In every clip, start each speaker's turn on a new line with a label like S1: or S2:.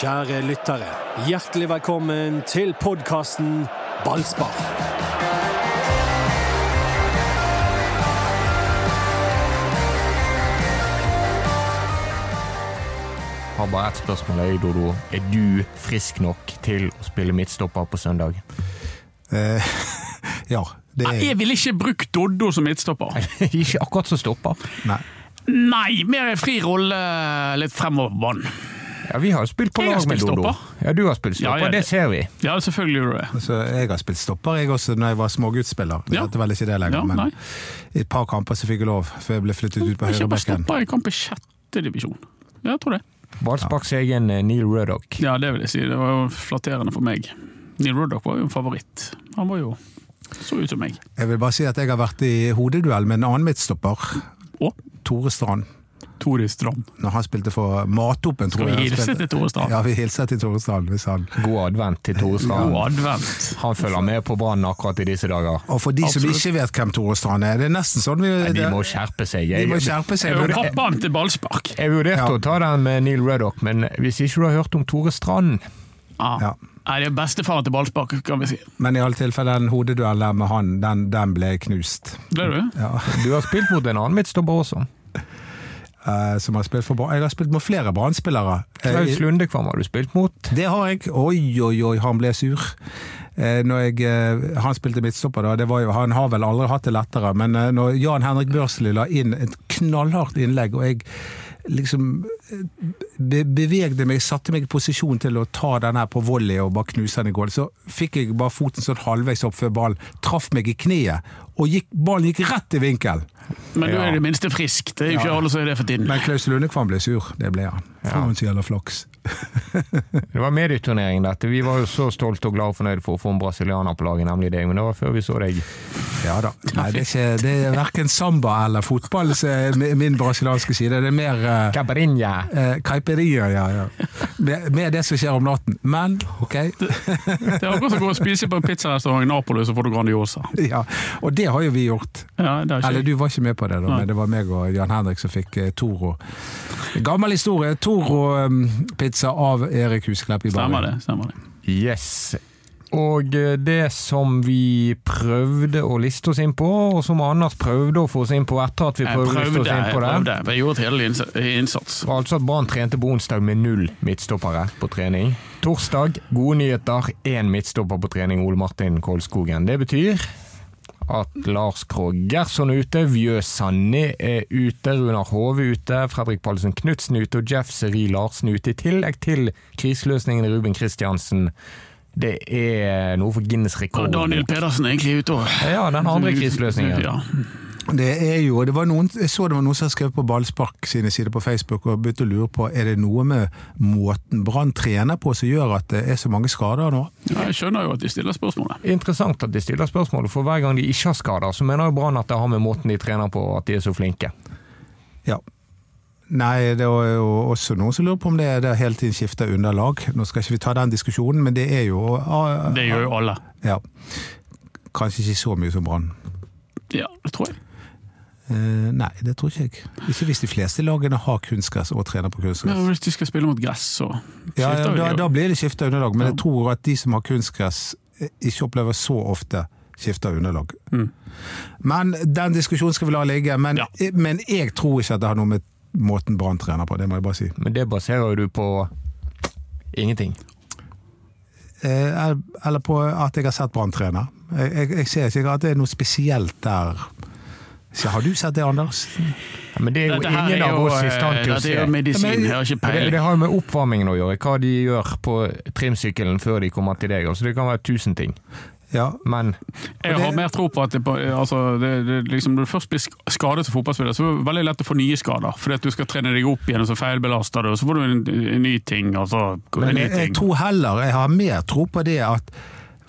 S1: Kjære lyttere, hjertelig velkommen til podkasten Ballspar.
S2: Har bare ett spørsmål, jeg, Dodo. Er du frisk nok til å spille midtstopper på søndag?
S3: Eh, ja, det er
S4: Nei, Jeg ville ikke brukt Doddo som midtstopper.
S2: Ikke akkurat som stopper.
S3: Nei.
S4: Nei, mer fri rolle litt fremover på banen.
S2: Ja, Vi har jo spilt på
S4: Jeg har
S2: lag med
S4: spilt
S2: Dodo.
S4: stopper.
S2: Ja, Du har spilt stopper,
S4: Ja, ja,
S2: det
S4: det-
S2: ser vi.
S4: Ja, selvfølgelig gjorde du det.
S3: Altså, jeg har spilt stopper, jeg også, når jeg var småguttspiller.
S4: Ja.
S3: Det er vel ikke det lenger,
S4: Ja,
S3: men
S4: nei.
S3: i et par kamper så fikk jeg lov, før jeg ble flyttet ut på
S4: Ikke bare
S3: høyrebekken.
S4: stopper i kamp i sjette divisjon. Ja, jeg tror det.
S2: Ballsparks egen eh, Neil Ruddock.
S4: Ja, det vil jeg si. Det var jo flatterende for meg. Neil Ruddock var jo en favoritt. Han var jo så ut som meg.
S3: Jeg vil bare si at jeg har vært i hodeduell med en annen midtstopper,
S4: Og
S3: Tore Strand,
S4: Tore Strand.
S3: når han spilte for Matopen,
S4: Skal
S3: tror
S4: vi
S3: jeg. han
S4: hilse
S3: spilte.
S4: til Tore Strand?
S3: Ja, vi hilser til Tore Strand, hvis han...
S2: God advent til Tore Strand.
S4: God advent.
S2: Han følger med på Brann akkurat i disse dager.
S3: Og for de som
S4: Absolutt.
S3: ikke vet hvem Tore Strand er, det er nesten sånn vi...
S2: Nei, De
S3: det-
S2: må skjerpe seg.
S3: de
S2: Jeg,
S3: må skjerpe
S4: Det
S3: seg.
S4: er jo
S3: men-
S4: Pappaen til ballspark.
S2: jeg vurderte
S3: Ja.
S2: å ta den med Neil Ruddock, men hvis ikke du har hørt om Tore Strand
S4: Ah.
S3: Ja.
S4: Nei, det er bestefaren til ballspark, kan vi si.
S3: Men i alle tilfeller, den hodeduell der med han, den, den ble knust.
S4: Ble du?
S3: Ja.
S2: Du har spilt mot en annen midtstopper også.
S3: Eh, som har spilt for Brann. Jeg har spilt med flere Brann-spillere. Eh, i-
S2: Klaus Lundekvam har du spilt mot.
S3: Det har jeg. Oi, oi, oi, han ble sur. Eh, Når jeg, eh, han spilte midtstopper, da, det var jo, han har vel aldri hatt det lettere, men eh, når Jan Henrik Børsli la inn et knallhardt innlegg, og jeg liksom eh, be bevegde meg, satte meg i posisjon til å ta den her på volley og bare knuse den i gål, så fikk jeg bare foten sånn halvveis opp før ballen traff meg i kneet, og gikk, ballen gikk rett i vinkel.
S4: Men du
S2: Ja.
S4: er i det minste frisk. Det er jo ikke alle som er det for tiden.
S3: Men Klaus Lundekvam ble sur, det ble han. Faen så gjelder flaks.
S2: Det var medieturnering, dette. Vi var jo så stolt og glad og fornøyd for å få en brasilianer på laget, nemlig deg. Men det var før vi så deg.
S3: Ja da. Nei, det er, ikke, det er verken samba eller fotball som er mi- min brasilianske side. Det er mer eh,
S2: Cabarinha!
S3: eh, caipirinha, ja. ja. Mer, mer det som skjer om natten. Men ok.
S4: Det er akkurat som å gå og spise på en pizzarestaurant i Napoli, så får du Grandiosa.
S3: Ja. Og det har jo vi gjort.
S4: Ja, det er
S3: Eller
S4: ikke...
S3: du var ikke med på det, da,
S4: Nei.
S3: men det var meg og Jan Henrik som fikk eh, Toro. Gammel historie. Toro-pizza av Erik Husklepp i
S4: Stemmer
S3: Baren.
S4: det. stemmer det.
S2: Yes. Og eh, det som vi prøvde å liste oss inn på, og som Anders prøvde å få oss inn på etter at vi
S4: Jeg
S2: prøvde, å liste
S4: prøvde,
S2: oss
S4: jeg
S2: inn på det,
S4: prøvde. Jeg gjorde et hele innsa- innsats.
S2: var altså at Brann trente på onsdag med null midtstoppere på trening. Torsdag, gode nyheter, én midtstopper på trening, Ole Martin Kolskogen. Det betyr at Lars Krogh Gerson er ute, Vjø Sanni er ute, Runar Hove er ute, Fredrik Pallesen Knutsen er ute og Jeff Seri Larsen er ute, i tillegg til kriseløsningene Ruben Kristiansen. Det er noe for Guinness rekord.
S4: Og Daniel Pedersen er egentlig ute og
S2: Ja, den andre kriseløsningen.
S4: Ja.
S3: Det er jo, det var noen, jeg så det var noen som hadde skrevet på Ballspark sine sider på Facebook og begynte å lure på er det noe med måten Brann trener på som gjør at det er så mange skader nå.
S4: Ja, Jeg skjønner jo at de stiller spørsmålet.
S2: Interessant at de stiller spørsmålet, for hver gang de ikke har skader, så mener jo Brann at det har med måten de trener på, og at de er så flinke.
S3: Ja. Nei, det er jo også noen som lurer på om det er det hele tiden skifter underlag. Nå skal ikke vi ta den diskusjonen, men det er jo ah,
S4: Det gjør jo alle.
S3: ja. Kanskje ikke så mye som Brann.
S4: Ja, det tror jeg.
S3: Eh, nei, det tror ikke jeg. Ikke hvis de fleste lagene har kunstgress og trener på kunstgress.
S4: Men hvis de skal spille mot gress, så
S3: Ja, ja,
S4: skifter jo de
S3: da,
S4: jo.
S3: da blir det skifta underlag, men
S4: Ja.
S3: jeg tror at de som har kunstgress, eh, ikke opplever så ofte skifta underlag.
S4: Mm.
S3: Men den diskusjonen skal vi la ligge. Men,
S4: Ja.
S3: eh, men jeg tror ikke at det har noe med måten Brann trener på, det må jeg bare si.
S2: Men det baserer jo du på ingenting.
S3: Eh, el- Eller på at jeg har sett Brann trene. Jeg, jeg, jeg ser ikke at det er noe spesielt der. Så har du sett det, Anders?
S2: Ja, Men det er jo
S4: Dette her
S2: ingen
S4: er
S2: av
S4: jo,
S2: oss i stand til
S4: eh,
S2: å
S4: dette
S2: se.
S4: er jo medisin, jeg har ikke
S2: det,
S4: peiling.
S2: det har jo med oppvarmingen å gjøre, hva de gjør på trimsykkelen før de kommer til deg. Altså, det kan være tusen ting.
S3: Ja.
S2: Men
S4: Jeg har
S3: det-
S4: mer tro på at det, på- altså, det, det, liksom, når du først blir sk- skadet som fotballspiller, så er det veldig lett å få nye skader. Fordi at du skal trene deg opp igjen, og så feilbelaster du, og så får du en, en ny ting. Og så, en
S3: Men
S4: ny
S3: jeg, jeg
S4: ting.
S3: tror heller, jeg har mer tro på det at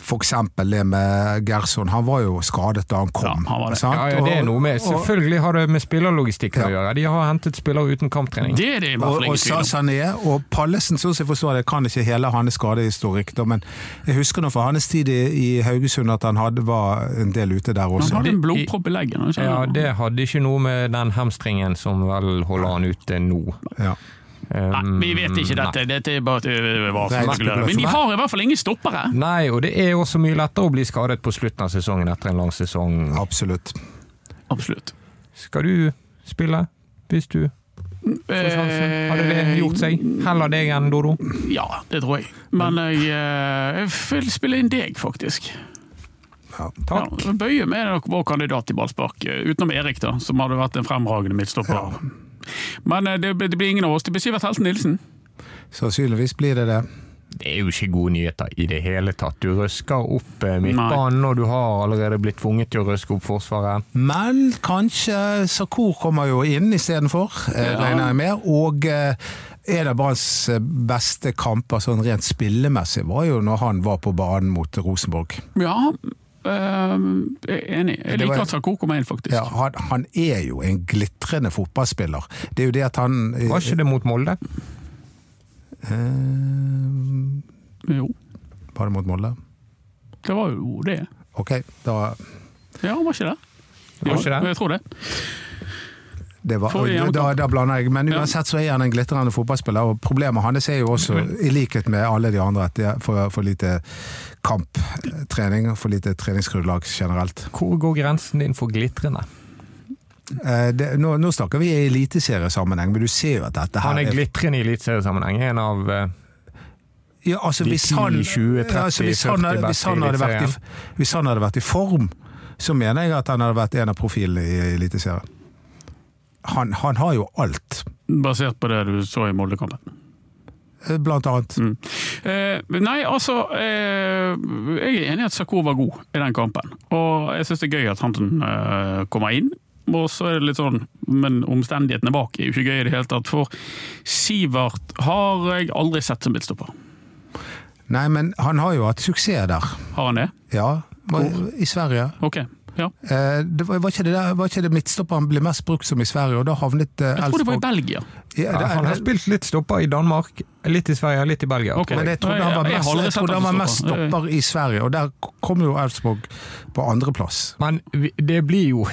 S3: for eksempel det med Gerson, han var jo skadet da han kom.
S4: Ja, han var det.
S3: sant?
S2: ja, ja, det er
S3: Og-
S2: noe med
S3: og-
S2: Selvfølgelig har det med spillerlogistikken å gjøre. De har hentet spillere uten kamptrening.
S4: det er det i hvert
S3: Og, og
S4: fall ingen tvil om.
S3: Sané og Pallesen, sånn som jeg forstår det, kan ikke hele hans skadehistorikk, da, men jeg husker nå fra hans tid i, i Haugesund at han hadde, var en del ute der
S4: Han
S3: også.
S4: hadde en blodpropp i leggen. han kjenner
S2: Ja,
S4: han.
S2: det hadde ikke noe med den hamstringen som vel holder han ute nå.
S3: Ja.
S2: Eh,
S4: Nei, vi vet ikke dette. Dette er bare øh, hva som
S3: Mm, Nei,
S4: spekulerer. Men de har i hvert fall ingen stoppere.
S2: Nei, og det er også mye lettere å bli skadet på slutten av sesongen etter en lang sesong.
S3: Absolutt.
S4: Absolutt.
S2: Skal du spille hvis du får sjansen? Hadde det gjort seg? Heller deg enn Dodo?
S4: Eh, Ja, det tror jeg. Men jeg, eh, jeg vil spille inn deg, faktisk. Ja,
S2: Takk.
S4: Bøye med nok vår kandidat i ballspark, eh, utenom Erik, da, som hadde vært en fremragende midtstopper. Men eh, det, det blir ingen av oss. Det blir Sivert Helten Nilsen.
S3: Sannsynligvis blir det det.
S2: Det er jo ikke gode nyheter i det hele tatt. Du røsker opp eh, midtbanen, og du har allerede blitt tvunget til å røske opp Forsvaret.
S3: Men kanskje Sakur kommer jo inn istedenfor, ja.
S4: Ja.
S3: eh, regner jeg med. Og eh, en av Branns eh, beste kamper sånn rent spillemessig var jo når han var på banen mot Rosenborg.
S4: Ja, eh, jeg er enig. Jeg
S3: Det var-
S4: liker at Sarko kommer inn, faktisk.
S3: Ja, han, han er jo en glitrende fotballspiller. Det er jo det at han
S2: Var ikke det mot Molde?
S3: eh,
S4: Jo,
S3: Var det mot Molde?
S4: det var jo det.
S3: Ok, da
S4: Ja, var ikke det?
S2: Var
S4: Jo,
S2: ikke det?
S4: Jeg tror det.
S3: Det var,
S4: Får vi
S3: da,
S4: igjen
S3: da,
S4: kamp.
S3: da blander jeg, men
S4: Ja.
S3: uansett så er han en glitrende fotballspiller, og problemet hans er jo også,
S2: Mhm.
S3: i likhet med alle de andre, at det er for, for lite kamptrening og for lite treningsgrunnlag generelt.
S2: Hvor går grensen din for glitrende?
S3: Eh, Det, nå, nå snakker vi i eliteseriesammenheng, men du ser jo at dette her
S2: Han er glitrende i eliteseriesammenheng. En av eh,
S3: ja, altså,
S2: De
S3: hvis
S2: 10,
S3: han,
S2: 20,
S3: ja, altså, hvis han,
S2: 40
S3: hadde- hvis
S2: beste i
S3: han hadde vært i,
S2: Eliteserien.
S3: hvis han hadde vært i form, så mener jeg at han hadde vært en av profilene i Eliteserien. Han, han har jo alt,
S4: Basert på det du så i Molde-kampen.
S3: eh, blant annet.
S4: Eh, nei, altså eh, Jeg er enig i at Sarko var god i den kampen. Og jeg syns det er gøy at Hanten eh, kommer inn. Og så er det litt sånn, Men omstendighetene bak er jo ikke gøy i det hele tatt. For Sivert har jeg aldri sett som midtstopper.
S3: Nei, men han har jo hatt suksess der.
S4: Har han det?
S3: Ja, i Sverige.
S4: Ok. Ja.
S3: Eh, Det var, var, ikke det der, var ikke det midtstopper han ble mest brukt som i Sverige, og da havnet eh,
S4: Jeg tror det var i
S3: Elfsborg
S4: Belgia.
S3: Ja, det-
S2: Ja, han har spilt litt stopper i Danmark, litt i Sverige, litt i Belgia.
S4: Ok.
S3: Men jeg trodde han var
S4: Jeg- jeg
S3: mest,
S4: har aldri
S3: jeg trodde
S4: sett
S3: han var
S4: han
S3: mest
S4: som stopper.
S3: stopper i Sverige, og der kom jo Elfsborg på andreplass.
S2: Men vi- det blir jo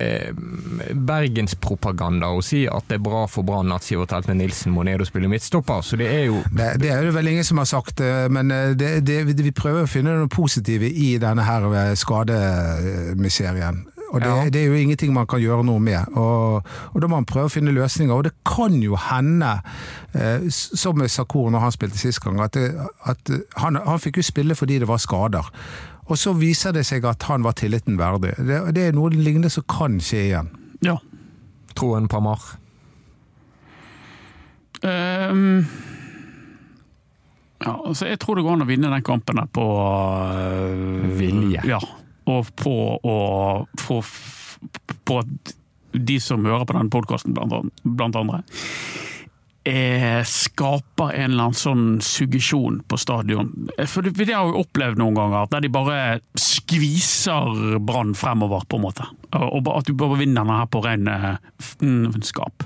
S2: eh, bergenspropaganda å si at det er bra for Brann at Sivert Heltne Nilsen må ned og spille midtstopper, så det er jo
S3: Det, det er det vel ingen som har sagt, eh, men eh, det, det, vi prøver å finne noe positive i denne her eh, skademiserien. Og det,
S2: Ja.
S3: det er jo ingenting man kan gjøre noe med. Og, og da må man prøve å finne løsninger. Og det kan jo hende, eh, s- som med Sakur når han spilte sist gang, at, det, at eh, han, han fikk jo spille fordi det var skader. Og så viser det seg at han var tilliten verdig. Det, det er noe lignende som kan skje igjen.
S4: Ja.
S2: troen Pamar.
S4: Ehm, ja, altså jeg tror det går an å vinne den kampen her på øh,
S2: Vilje.
S4: Ja, og på å få f- På at de som hører på denne podkasten, blant, an- blant andre, eh, skaper en eller annen sånn suggesjon på stadion. Eh, For det, det har jeg jo opplevd noen ganger, der de bare skviser Brann fremover, på en måte. Og og bare- at du bare vinner denne her på ren eh, f- mm, skap.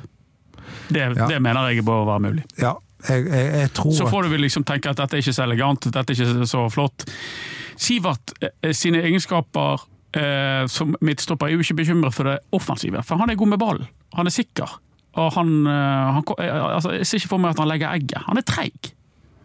S4: Det,
S3: Ja.
S4: det mener jeg bør være mulig.
S3: Ja, jeg, jeg, jeg tror
S4: Så
S3: at-
S4: får du vel liksom tenke at dette er ikke så elegant, dette er ikke så flott. Sivert eh, sine egenskaper eh, som midtstopper er jo ikke bekymret for det offensive, for han er god med ballen. Han er sikker. Og han, eh, han ko- eh, altså, jeg ser ikke for meg at han legger egget. Han er treig.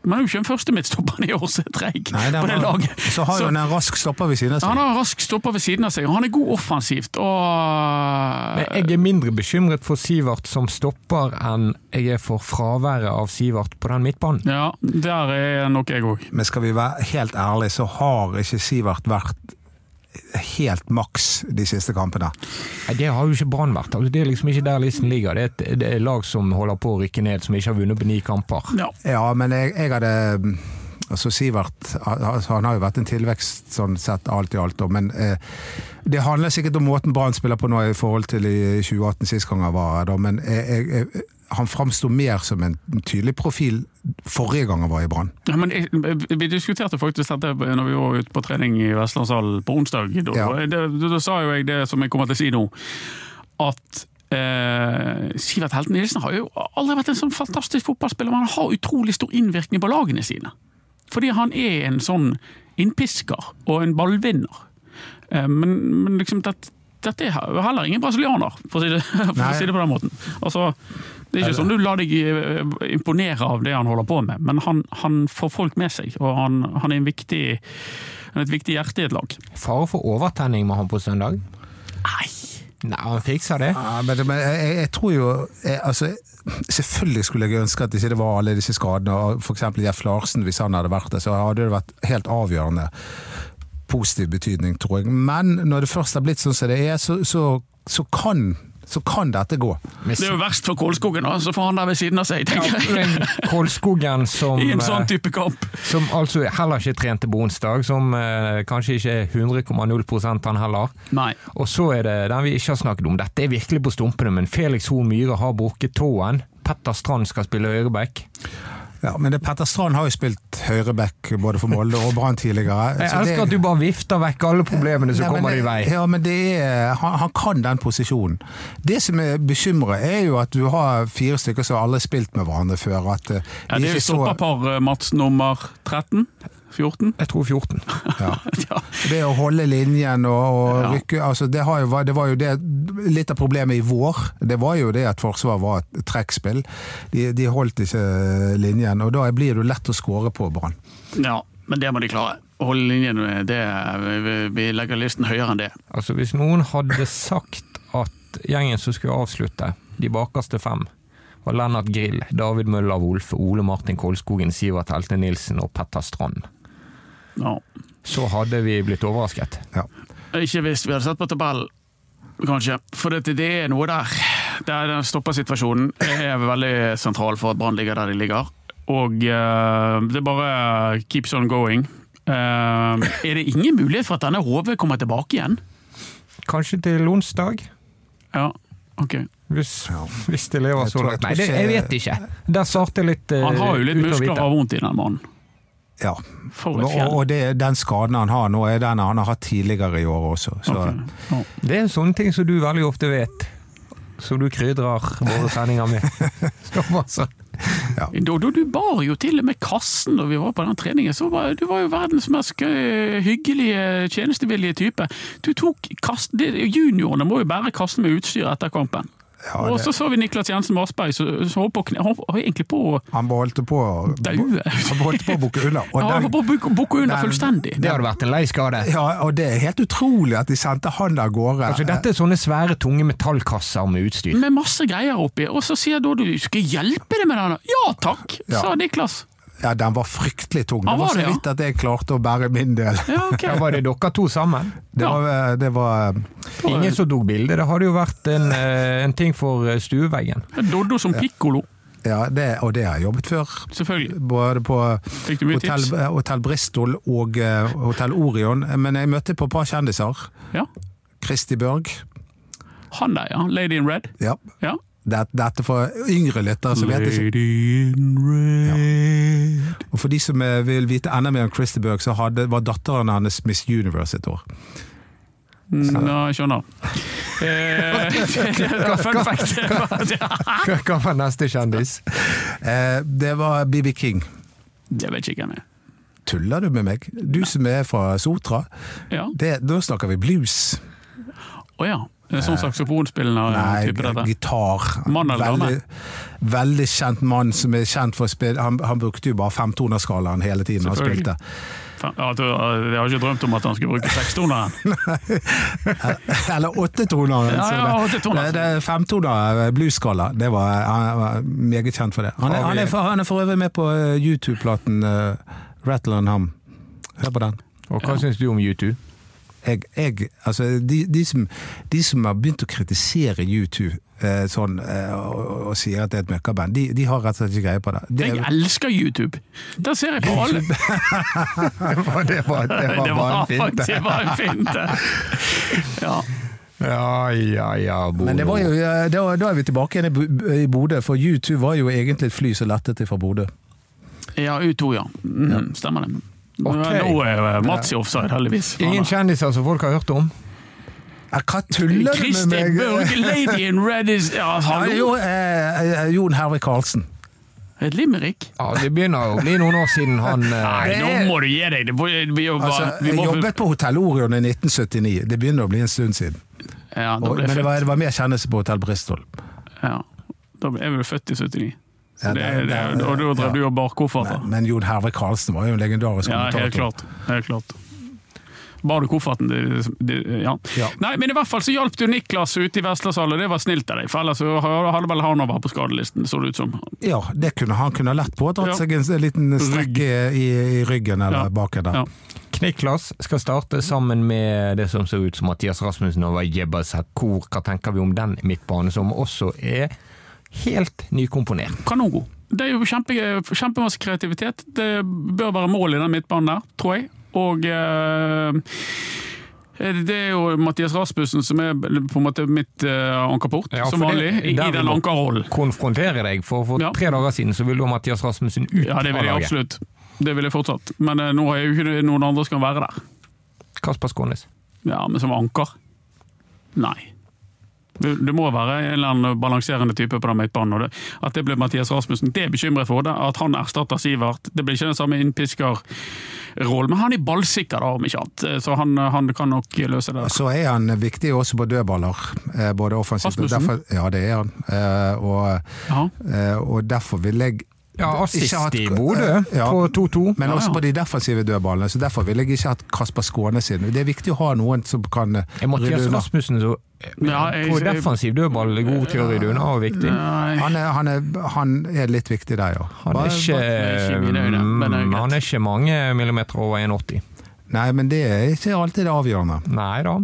S4: Men han er jo ikke den første midtstopperen i år som er treig
S3: Nei, der
S4: på det
S3: var-
S4: laget.
S3: Så har jo
S4: Så-
S3: han en rask stopper ved siden av seg.
S4: han har en rask stopper ved siden av seg, og han er god offensivt.
S2: Men
S4: Og
S2: jeg er mindre bekymret for Sivert som stopper enn jeg er for fraværet av Sivert på den midtbanen.
S4: ja, der er nok jeg òg.
S3: Men skal vi være helt ærlige, så har ikke Sivert vært helt maks de siste kampene.
S2: Nei, Det har jo ikke Brann vært. Altså, Det er liksom ikke der listen ligger. Det er et det er lag som holder på å rykke ned, som ikke har vunnet på ni kamper.
S4: Ja.
S3: Ja, men jeg, jeg hadde Altså Sivert altså han har jo vært en tilvekst sånn sett alt i alt, da, men eh, det handler sikkert om måten Brann spiller på nå i forhold til i 2018, sist gang han var her, da, men eh, jeg, jeg, jeg, han framsto mer som en tydelig profil forrige gang han var i Brann.
S4: Ja, men jeg- Vi diskuterte faktisk dette når vi var ute på trening i Vestlandshallen på onsdag. Da,
S3: Ja.
S4: da, da sa jo jeg det som jeg kommer til å si nå, at eh, Sivert Helten Nilsen har jo aldri vært en sånn fantastisk fotballspiller, men han har utrolig stor innvirkning på lagene sine. Fordi han er en sånn innpisker og en ballvinner. Eh, men, men liksom det, dette er heller ingen brasilianer, for å si det, for
S3: Nei.
S4: å si det på den måten. Altså, Det er ikke sånn du lar deg eh, imponere av det han holder på med, men han, han får folk med seg, og han, han er en viktig, han er et viktig hjerte i et lag.
S2: Fare for overtenning med han på søndag.
S4: Nei!
S2: Nei, han fikser det.
S3: Ja, men, men jeg, jeg- jeg tror jo jeg, altså, Selvfølgelig skulle jeg ønske at ikke det var alle disse skadene. og For eksempel Jeff Larsen, hvis han hadde vært der, så hadde det vært helt avgjørende positiv betydning, tror jeg. Men når det først har blitt sånn som det er, så, så, så, kan, så kan dette gå.
S2: Med
S4: Det er jo verst for Kålskogen, da, så får han der ved siden av seg, tenker jeg.
S2: Kolskogen som,
S4: I en
S2: eh,
S4: sånn type kamp.
S2: som altså heller ikke trente på onsdag, som eh, kanskje ikke er 100,0 han heller.
S4: Nei.
S2: Og så er det den vi ikke har snakket om. Dette er virkelig på stumpene, men Felix Horn Myhre har brukket tåen. Petter Strand skal spille øreback.
S3: Ja, men det, Petter Strand har jo spilt høyreback både for Molde og Brann tidligere.
S2: Jeg
S3: så Altså, det-
S2: elsker at du bare vifter vekk alle problemene som
S3: Nei, men
S2: kommer
S3: det-
S2: din vei.
S3: Ja, men det er, han, han kan den posisjonen. Det som er bekymret, er jo at du har fire stykker som aldri har spilt med hverandre før. At, eh,
S4: Ja,
S3: de
S4: det er
S3: ikke
S4: jo
S3: så-
S4: stopperpar, eh, Mats, nummer 13? 14?
S2: Jeg tror 14.
S3: ja.
S4: Ja.
S3: Det å holde linjen og, og
S4: Ja.
S3: rykke altså det, har jo, vært- det var jo det Litt av problemet i vår, det var jo det at Forsvaret var et trekkspill. De, de holdt ikke linjen, og da blir du lett å skåre på Brann.
S4: ja, men det må de klare. Å Holde linjen, det, vi- vi legger listen høyere enn det.
S2: Altså, hvis noen hadde sagt at gjengen som skulle avslutte, de bakerste fem, var Lennart Grill, David Møller Wolfe, Ole Martin Kolskogen, Sivert Helte Nilsen og Petter Strand,
S4: Ja.
S2: så hadde vi blitt overrasket.
S3: Ja.
S4: Ikke hvis vi hadde sett på tabellen, kanskje. For det, det er noe der. der den stoppersituasjonen er veldig sentral for at Brann ligger der de ligger. Og eh, det er bare keeps on going. Eh, er det ingen mulighet for at denne HV kommer tilbake igjen?
S2: Kanskje til onsdag?
S4: Ja, ok.
S2: Hvis,
S3: Ja.
S2: hvis det lever
S3: Jeg
S2: så
S3: tror-
S2: langt.
S3: jeg
S2: Nei,
S3: tror
S2: det, jeg
S3: ikke-
S2: vet ikke. Der svarte litt eh,
S4: Han har jo litt
S2: ut av
S4: muskler og
S2: hvite.
S4: har vondt i den mannen.
S3: ja.
S4: For et
S3: Og,
S4: fjell.
S3: og det, den skaden han har nå, er den han har hatt tidligere i år også. Så,
S4: Ok, ja.
S2: Det er sånne ting som du veldig ofte vet. Som du krydrer våre sendinger med. Så masse.
S4: Dodo, du bar jo til og med kassen når vi var på den treningen. Så var, du var jo verdens mest eh, hyggelige, tjenestevillige type. Du tok kassen, det, Juniorene må jo bære kassen med utstyr etter kampen.
S3: ja,
S4: og
S3: det-
S4: så så vi Niklas Jensen Marsberg som som holdt på å kne- Han var egentlig på å
S3: Han holdt på å
S4: daue.
S3: Han holdt på å bukke unna. Og
S4: Ja, Han var
S3: den,
S4: på å bukke bukke under
S3: den-
S4: fullstendig.
S2: Det hadde vært en lei skade.
S3: ja, og det er helt utrolig at de sendte han av gårde.
S2: Altså, dette er sånne svære, tunge metallkasser med utstyr.
S4: Med masse greier oppi. Og så sier Dodo du skal jeg hjelpe deg med den. Ja takk,
S3: Ja.
S4: sa Niklas.
S3: Ja, den var fryktelig tung. Det var
S4: Han var
S3: så
S4: det, ja.
S3: vidt at jeg klarte å bære min del.
S4: Ja, ok.
S2: Ja, var det dere to sammen?
S3: Det
S4: Ja.
S3: var, eh, det var
S2: Ingen som tok bilde. Det hadde jo vært en, eh, en ting for eh, stueveggen.
S4: Dodo som pikkolo,
S3: Ja, det, og det har jeg jobbet før.
S4: selvfølgelig.
S3: Både på
S4: Fikk du mye
S3: Hotell
S4: tips?
S3: Hotel Bristol og eh, Hotell Orion. Men jeg møtte på et par kjendiser.
S4: Ja.
S3: Kristi Børg.
S4: Han der, ja. Lady in red.
S3: Ja.
S4: Ja.
S3: Det- Dette for yngre lyttere
S4: Altså,
S3: som vet ikke.
S4: Lady in red.
S3: Og for de som eh, vil vite enda mer om Kristi Børg, så hadde, var datteren hans Miss Universe et år.
S4: Nå, Mm, jeg skjønner. Eh, det var Fun fact.
S2: Hva hva var neste kjendis?
S3: Eh, det var BB King.
S4: Det vet ikke hvem er.
S3: Tuller du med meg? Du som er fra Sotra.
S4: Ja.
S3: Det, da snakker vi blues.
S4: Å ja. Det er Sånn saksofonspillende
S3: Nei,
S4: type dette.
S3: gitar.
S4: Mann eller
S3: veldig, veldig kjent mann som er kjent for å spille Han, han brukte jo bare femtonerskalaen hele tiden han spilte.
S4: Selvfølgelig. Faen, ja, du, Jeg har ikke drømt om at han skulle bruke sekstoneren.
S3: Eller åttetoneren.
S4: Ja,
S3: så
S4: ja,
S3: det-
S4: åttetoneren.
S3: Det, det er femtoner eh, bluesskala. Det var, han var meget kjent for det. Han er,
S2: Har vi-
S3: han er, for, han er for øvrig med på eh, YouTube-platen eh, Rattle and Hum. Hør på den.
S2: Og hva syns du om U2?
S3: jeg, jeg, altså de, de, som, de som har begynt å kritisere U2 eh, sånn, eh, og, og- og sier at det er et møkkaband, de, de har rett og slett ikke greie på det. det
S4: Jeg elsker YouTube! Der ser jeg på alle
S2: Det var, det var,
S4: Det var, det var en finte! Ja.
S2: Ja, ja, ja, Bodo.
S3: men det var jo, eh, da, da er vi tilbake igjen i Bo- i Bodø, for U2 var jo egentlig et fly som lettet fra Bodø.
S4: ja, U2, ja. Mm, stemmer det.
S2: Ok.
S4: Nå er Mats i offside, heldigvis. altså.
S2: Ingen kjendiser som folk har hørt om?
S3: Ja, Hva tuller du med
S4: Kristin Børge,
S3: meg?
S4: Lady in Red is
S3: Ja,
S4: ja, Hallo!
S3: jo, eh, eh, Jon Hervik Karlsen.
S4: Et limerick?
S2: Ja, Det begynner å bli noen år siden han eh,
S4: Nei,
S3: det
S4: nå
S3: er-
S4: må du gi deg! Det må- Vi jo
S3: Altså,
S4: bare, vi
S3: jeg
S4: må,
S3: jobbet på Hotell Orion i 1979. Det begynner å bli en stund siden.
S4: ja, da
S3: Og,
S4: ble
S3: men
S4: jeg
S3: det
S4: født.
S3: var, det var mer kjennelse på Hotell Bristol.
S4: Ja. Da ble jeg vel født i 79. Så
S3: Ja,
S4: det,
S3: det-
S4: det,
S3: det-
S4: og da drev
S3: ja.
S4: du og bar kofferter.
S3: Men, men Jon Herve Karlsen var jo en legendarisk
S4: altså. Ja,
S3: kommentator.
S4: helt klart. Helt klart. Bar du kofferten? Det, det, ja.
S3: Ja.
S4: Nei, men i hvert fall så hjalp du Niklas ute i Veslashallen, og det var snilt av deg. For ellers så hadde vel han vært på skadelisten, så det ut som.
S3: Ja, det kunne han kunne ha lett på. Dratt
S4: Ja.
S3: seg en s- liten strekk i, i, i ryggen eller
S4: Ja.
S3: baken der.
S4: Ja.
S2: Kniklas skal starte sammen med det som ser ut som Mathias Rasmussen over Jebba Sakur. Hva tenker vi om den midtbanen, som også er helt nykomponert?
S4: Kanongod. Det er jo kjempe, kjempemasse kreativitet. Det bør være mål i den midtbanen der, tror jeg. Og eh, det er jo Mathias Rasmussen som er på en måte mitt eh, ankerport,
S2: Ja, for
S4: som vanlig,
S2: det-
S4: i,
S2: der
S4: i
S2: vi
S4: den
S2: må-
S4: ankerrollen.
S2: Konfrontere deg, for for
S4: Ja.
S2: tre dager siden så ville du ha Mathias Rasmussen ut
S4: Ja, det
S2: fra
S4: vil jeg
S2: laget.
S4: absolutt. Det vil jeg fortsatt. Men eh, nå har jeg jo ikke noen andre som kan være der.
S2: Kasper Skånes.
S4: Ja, men som anker? Nei. Du du må være en eller annen balanserende type på den midtbanen. og det- At det ble Mathias Rasmussen, det er jeg bekymret for. det, At han erstatter Sivert. Det blir ikke den samme innpiskerrollen. Men han er ballsikker, da, om ikke annet. Så han, han kan nok løse det.
S3: Så er han viktig også på dødballer, eh, både offensivt og
S4: Rasmussen?
S3: derfor, Ja, det er han. Eh, Og,
S4: Ja.
S3: eh, og derfor vil jeg
S2: Ja, assist
S3: Ikke hatt-
S2: i Bodø
S3: Ja.
S2: på 2-2.
S3: Men
S4: Ja,
S3: også
S4: ja.
S3: på de defensive dødballene, så derfor vil jeg ikke hatt Kasper Skånes inn. Det er viktig å ha noen som kan eh,
S2: Er Mathias
S3: rydde unna.
S2: Rasmussen så eh,
S4: Ja, jeg-
S2: på defensiv dødball er god til å rydde unna og viktig?
S4: Nei.
S3: Han er, han, er, han er litt viktig der, ja.
S2: Han er ikke, eh,
S4: ikke mine øyne, men det er greit.
S2: han er ikke mange millimeter over 1,80.
S3: Nei, men det er ikke alltid det avgjørende.
S2: Nei da.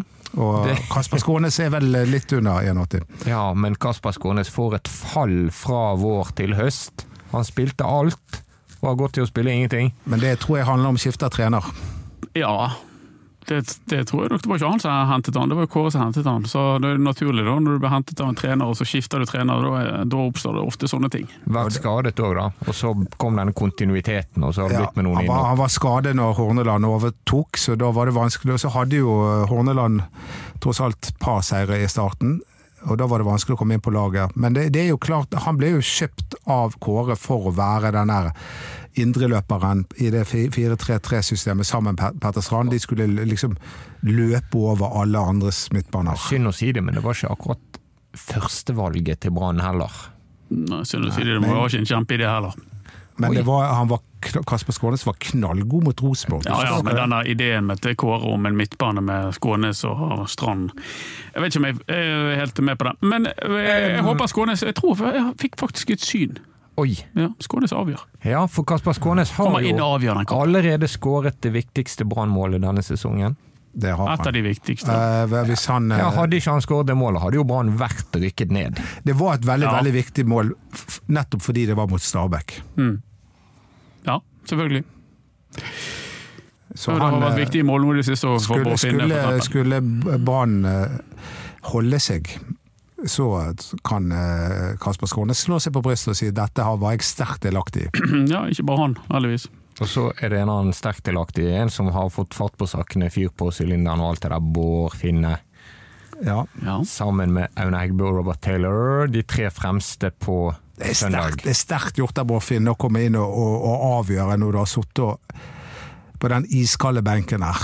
S3: Og
S2: Det-
S3: Kasper Skånes er vel litt under 1,80.
S2: Ja, men Kasper Skånes får et fall fra vår til høst. Han spilte alt, og har gått til å spille ingenting.
S3: Men det tror jeg handler om skifte av trener.
S4: Ja. Det, det tror jeg nok det var ikke han som hentet han, det var jo Kåre som hentet han. Så det er naturlig da, når du blir hentet av en trener, og så skifter du trener, da, da oppstår det ofte sånne ting.
S2: Vært skadet òg, da. Og så kom denne kontinuiteten, og så har det
S3: Ja,
S2: blitt med noen
S3: han, var,
S2: innom.
S3: han var skadet når Horneland overtok, så da var det vanskelig. Og så hadde jo eh, Horneland tross alt et par seire i starten, og da var det vanskelig å komme inn på laget. Men det, det er jo klart, han ble jo kjøpt av Kåre for å være den der indreløperen i det 4-3-3-systemet sammen med Petter Strand. De skulle liksom løpe over alle andres midtbaner.
S2: Synd å si det, men det var ikke akkurat førstevalget til Brann heller.
S4: Nei, Synd å si det, det var ikke en kjempeidé heller.
S3: Men
S2: Oi.
S3: det var, han var, Kasper Skånes var knallgod mot Rosenborg.
S4: Ja, ja, men denne ideen med til Kåre om en midtbane med Skånes og Strand Jeg vet ikke om jeg er helt med på det, men eh, jeg,
S3: Eh,
S4: jeg håper Skånes Jeg tror jeg fikk faktisk et syn.
S2: Oi!
S4: Ja, Skånes avgjør.
S2: Ja, for Kasper Skånes har
S4: Kommer inn
S2: jo
S4: og avgjør den kampen.
S2: allerede skåret det viktigste Brann-målet denne sesongen.
S3: Det har
S4: Et av
S3: han.
S4: de viktigste.
S3: Eh, hvis han, eh,
S2: Ja, hadde ikke han skåret det målet, hadde jo Brann vært rykket ned.
S3: Det var et veldig
S4: Ja.
S3: veldig viktig mål, f- nettopp fordi det var mot Stabæk.
S4: Mm. Ja, selvfølgelig.
S3: Så
S4: Det har
S3: eh,
S4: vært viktige mål nå i det siste. og for
S3: skulle,
S4: Bård Finne, for
S3: skulle,
S4: eksempel.
S3: skulle Brann eh, holde seg, så kan eh, Kasper Skånes slå seg på brystet og si dette har- var jeg sterkt delaktig i.
S4: Ja, ikke bare han, heldigvis.
S2: Og så er det en annen sterkt delaktig en som har fått fart på sakene, fyr på sylinderen og alt det der, Bård Finne.
S3: Ja.
S4: Ja.
S2: sammen med Aune Heggebø og Robert Taylor, de tre fremste på
S3: Det er
S2: søndag.
S3: sterkt, det er sterkt gjort av Bård Finne å komme inn og, og, og avgjøre når du har sittet og- på den iskalde benken her.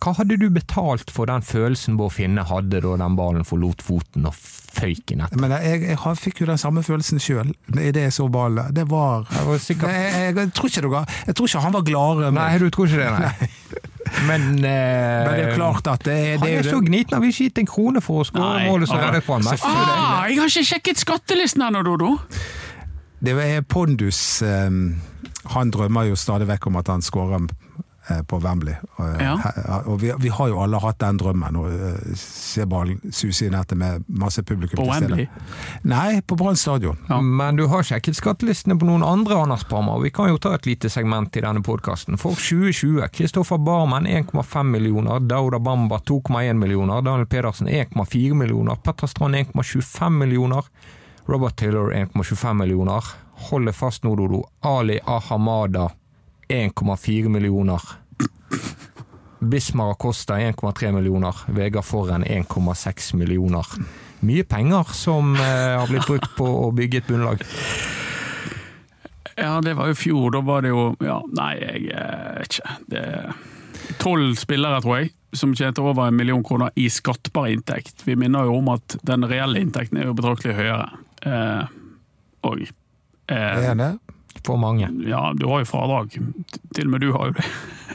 S2: Hva hadde du betalt for den følelsen Bård Finne hadde da den ballen forlot foten og føyk i nett?
S3: Men jeg, jeg har- fikk jo den samme følelsen sjøl idet jeg så ballen. Det var
S2: Det var
S3: Nei,
S2: sikkert...
S3: jeg, jeg, jeg, tror ikke dere, jeg tror ikke han var gladere enn
S2: Nei,
S3: meg.
S2: du tror ikke det, nei. Men, eh,
S3: Men det er jo klart at det, er-
S2: Han
S3: det
S2: er
S3: er
S2: så
S3: jo det.
S2: gniten, han vil ikke gitt en krone for å skåre
S4: Nei,
S2: målet som
S4: altså,
S2: reddet på han. Nei, fy, det-
S4: Ah, jeg har ikke sjekket skattelisten ennå, Dodo!
S3: Det er Pondus eh, Han drømmer jo stadig vekk om at han skårer eh, på Wembley. Og,
S4: Ja.
S3: he- og vi, vi har jo alle hatt den drømmen, å eh, se ballen suse i nettet med masse publikum
S4: På Wembley.
S3: Nei, på Brann stadion.
S4: Ja.
S2: Men du har sjekket skattelistene på noen andre, Anders Parma. og Vi kan jo ta et lite segment i denne podkasten. For 2020, Kristoffer Barmen 1,5 millioner, Dauda Bamba 2,1 millioner, Daniel Pedersen 1,4 millioner, Petter Strand 1,25 millioner, Robert Taylor 1,25 millioner. Hold deg fast nå, Dodo. Ali Ahamada 1,4 millioner. Bismar Acosta 1,3 millioner, Vegard Forren 1,6 millioner. Mye penger som eh, har blitt brukt på å bygge et bunnlag.
S4: Ja, det var jo i fjor. Da var det jo ja, Nei, jeg eh, vet ikke. Det Tolv spillere, tror jeg, som tjente over en million kroner i skattbar inntekt. Vi minner jo om at den reelle inntekten er jo betraktelig høyere. Eh, òg.
S3: Er han det?
S2: For mange.
S4: ja, du har jo fradrag. Til og med du har jo det.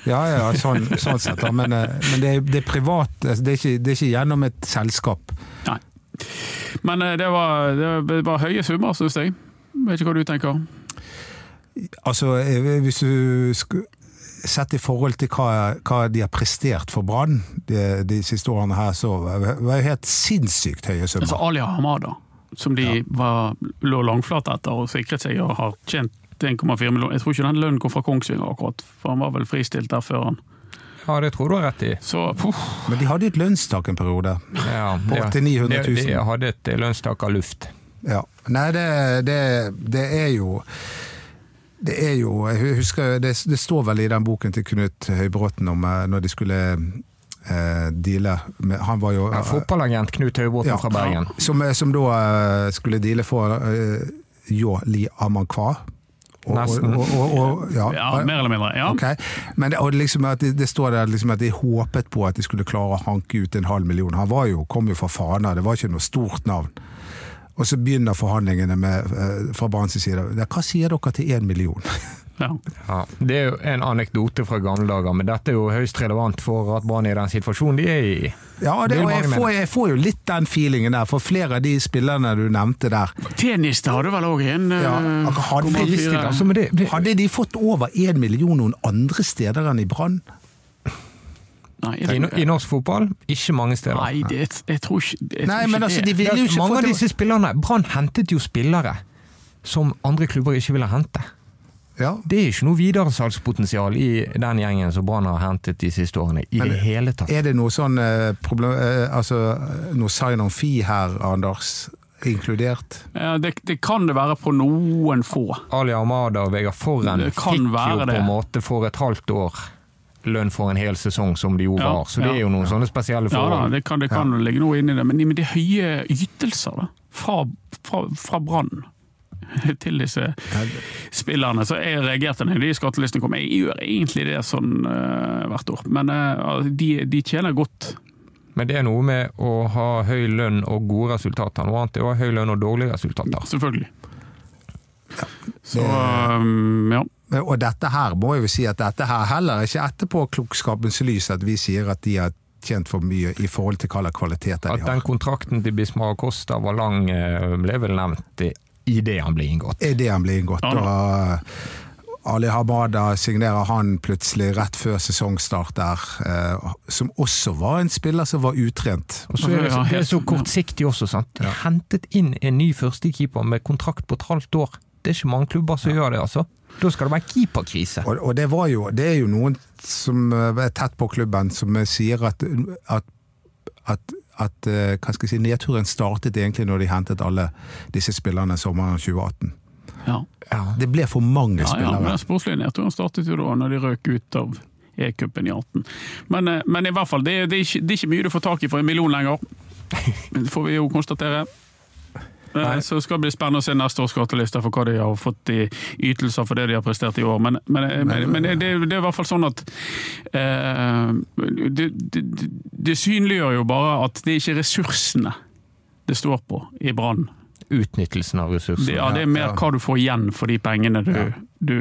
S3: Ja, ja, ja, sånn, sånn sett. da. Men, eh, men det, er, det er privat, altså, det er, ikke, det er ikke gjennom et selskap.
S4: Nei. Men eh, det var, det var høye summer, syns jeg. Vet ikke hva du tenker.
S3: Altså, eh, hvis du skulle Sett i forhold til hva, hva de har prestert for Brann de, de siste årene her, så var jo helt sinnssykt høye
S4: Altså
S3: summer.
S4: Alia Hamada, som de var, lå langflat etter og sikret seg og har tjent 1,4 millioner. Jeg tror ikke den lønnen kom fra Kongsvinger akkurat, for han var vel fristilt der før han.
S2: Ja, det tror du har rett i.
S4: Så puff,
S3: Men de hadde jo et lønnstak en periode.
S2: Ja,
S3: På
S2: det-
S3: til 900 000.
S2: det- De hadde et eh, lønnstak av luft.
S3: Ja. Nei, det, det, det er jo det er jo, jeg husker, det, det står vel i den boken til Knut Høybråten om eh, når de skulle eh, deale med Han var jo
S2: Ja, fotballagent Knut Høybråten
S3: Ja.
S2: fra Bergen.
S3: Som, som da eh, skulle deale for eh, Yo Li Amankwa. Og-
S2: Nesten.
S3: Og, og, og, og, ja.
S4: ja, mer eller mindre. Ja.
S3: Ok. Men det, og det liksom at det, det står der liksom at de håpet på at de skulle klare å hanke ut en halv million. Han var jo, kom jo fra Fana, det var ikke noe stort navn. Og så begynner forhandlingene med, eh, fra Branns side. Ja, hva sier dere til én million?
S4: Ja.
S2: Ja, det er jo en anekdote fra gamle dager, men dette er jo høyst relevant for at Brann er i den situasjonen de er i.
S3: Ja, og det,
S2: Vil
S3: og
S2: mange
S3: jeg,
S2: mene.
S3: får, jeg får jo litt den feelingen der, for flere av de spillerne du nevnte der
S4: Tennis det hadde vel òg en eh,
S3: ja, hadde,
S4: 0,4.
S2: altså, Mm. men det- det-
S3: hadde de fått over én million noen andre steder enn i Brann?
S4: Nei,
S2: I, no- I norsk fotball, ikke mange steder.
S4: Nei, det, jeg, tror ikke jeg tror
S3: Nei,
S4: ikke
S3: men
S4: det.
S3: altså, de ville jo ikke
S2: mange
S3: fått
S2: av
S3: det-
S2: disse spillerne Brann hentet jo spillere som andre klubber ikke ville hente.
S3: Ja.
S2: Det er ikke noe videresalgspotensial i den gjengen som Brann har hentet de siste årene. I
S3: Men
S2: det hele tatt.
S3: Er det noe sånn eh, problem, eh, altså, noe sign on fee her, Anders? Inkludert?
S4: Ja, det, det kan det være på noen få.
S2: Ali Ahmada og Vegard Forren
S4: Det kan
S2: fikk jo
S4: være
S2: på
S4: det.
S2: en måte for et halvt år lønn for en hel sesong, som de jo
S4: Ja,
S2: var. Så det
S4: ja.
S2: er jo noen sånne spesielle
S4: Ja da,
S2: forhold.
S4: det kan, det kan ligge noe inni det, men, men de høye ytelser da, fra, fra, fra Brann til disse spillerne, så jeg reagerte når de skattelistene kom. Jeg gjør egentlig det sånn eh, hvert år, men eh, de, de tjener godt.
S2: Men det er noe med å ha høy lønn og gode resultater. Noe annet er å ha høy lønn og dårlige resultater.
S4: Selvfølgelig. Så um, ja.
S3: Men- Eh, Og dette her må jeg jo si at dette her heller ikke etterpåklokskapens lys at vi sier at de har tjent for mye i forhold til hva slags kvaliteter
S2: At
S3: de
S2: den
S3: har.
S2: kontrakten til Bismar Costa var lang, eh, ble vel nevnt i- i det han ble inngått.
S3: Er det han blir inngått?
S4: Ja da.
S3: Og eh, Ali Hamada signerer han plutselig rett før sesongstart der, eh, som også var en spiller som var utrent.
S2: Og så er det, så,
S4: Ja, helt-
S2: det er så kortsiktig også, sant. Hentet inn en ny førstekeeper med kontrakt på et halvt år. Det er ikke mange klubber som gjør det, altså. Da skal det være keeperkrise.
S3: Og, og det, var jo, det er jo noen som eh, er tett på klubben som eh, sier at, at, at, at eh, hva skal jeg si, nedturen startet egentlig når de hentet alle disse spillerne sommeren 2018.
S4: ja.
S3: Det ble for mange
S4: Ja, ja, men
S3: spillere.
S4: den sportslige nedturen startet jo da når de røk ut av E-cupen i 18. Men, eh, men i hvert fall, det, er- det, er ikke, det er ikke mye du får tak i for en million lenger. Det får vi jo konstatere. Eh, Så skal det bli spennende å se neste års skattelister for hva de har fått i ytelser for det de har prestert i år. Men, men, men, men det, det er i hvert fall sånn at eh, det, det, det synliggjør jo bare at det er ikke ressursene det står på i Brann.
S2: Utnyttelsen av ressursene.
S4: Det, ja, det er mer hva du får igjen for de pengene du, du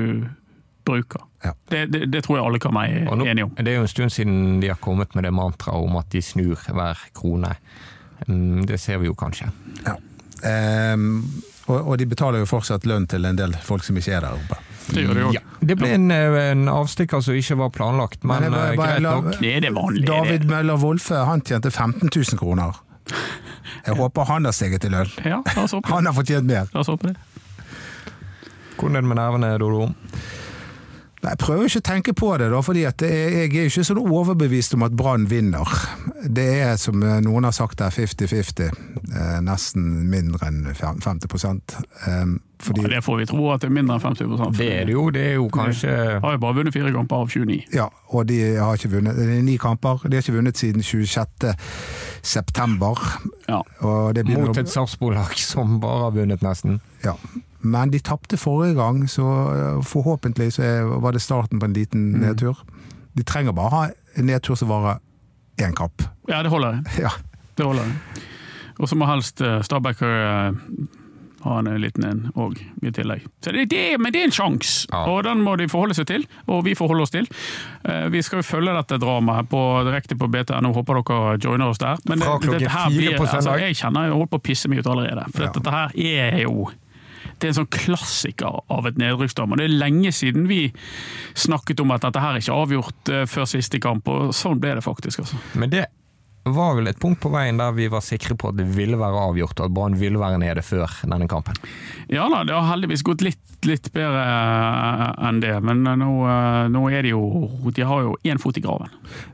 S4: bruker.
S3: Ja.
S4: Det, det, det tror jeg alle kan være
S2: Og nå,
S4: enige om.
S2: det er jo en stund siden de har kommet med det mantraet om at de snur hver krone. Mm, Det ser vi jo kanskje.
S3: Ja. Ehm, og, og de betaler jo fortsatt lønn til en del folk som ikke er der oppe.
S4: Det gjør det jo.
S2: Ja. Det ble en, eh, en avstikker som ikke var planlagt, men,
S3: Men det var-
S2: eh,
S3: bare
S2: greit
S3: la-
S2: nok.
S4: Det er det vanlige. det.
S3: David Møller Wolfe han tjente 15 000 kroner. Jeg håper han har steget i lønn.
S4: Ja, la oss håpe
S3: Han har fortjent mer.
S4: la oss håpe det.
S2: Hvordan er det med nervene, Dodo?
S3: Nei, Jeg prøver jo ikke å tenke på det, da, fordi at jeg jeg er jo ikke sånn overbevist om at Brann vinner. Det er, som eh, noen har sagt, der 50-50. Eh, nesten mindre enn fem- 50 prosent. Ehm,
S4: Ja,
S3: Fordi,
S4: det får vi tro at det er mindre enn 50 for
S2: Det er det jo. Det er jo kanskje
S4: Har jo bare vunnet fire kamper av 29.
S3: ja, og de har ikke vunnet. Det er ni kamper. De har ikke vunnet siden 26. september.
S4: Ja.
S3: Og det begynner
S2: mot
S3: å-
S2: et Sarpsborg-lag som bare har vunnet, nesten.
S3: Ja. Men de tapte forrige gang, så eh, forhåpentlig så er- var det starten på en liten
S4: Mm.
S3: nedtur. De trenger bare ha en nedtur som varer én kamp.
S4: ja, det holder. jeg.
S3: Ja.
S4: Det holder. jeg. Og så må helst eh, Stabæk eh, Han er en liten en òg, i tillegg. Så det, det, er- men det er en sjanse,
S2: Ja.
S4: og den må de forholde seg til. Og vi forholder oss til. Eh, Vi skal jo følge dette dramaet på, direkte på BTNO, håper dere joiner oss der. Men
S2: Fra
S4: det-
S2: klokken
S4: dette her
S2: fire
S4: blir-
S2: på
S4: Altså,
S2: søndag.
S4: jeg kjenner jeg har holdt på å pisse meg ut allerede. For dette her er jo det er en sånn klassiker av et nedrykksdam. Og det er lenge siden vi snakket om at dette her er ikke avgjort eh, før siste kamp, og sånn ble det faktisk. altså.
S2: Men det var vel et punkt på veien der vi var sikre på at det ville være avgjort, og at Brann ville være nede før denne kampen.
S4: Ja da, det har heldigvis gått litt, litt bedre eh, enn det, men nå, eh, nå er det jo De har jo én fot i graven.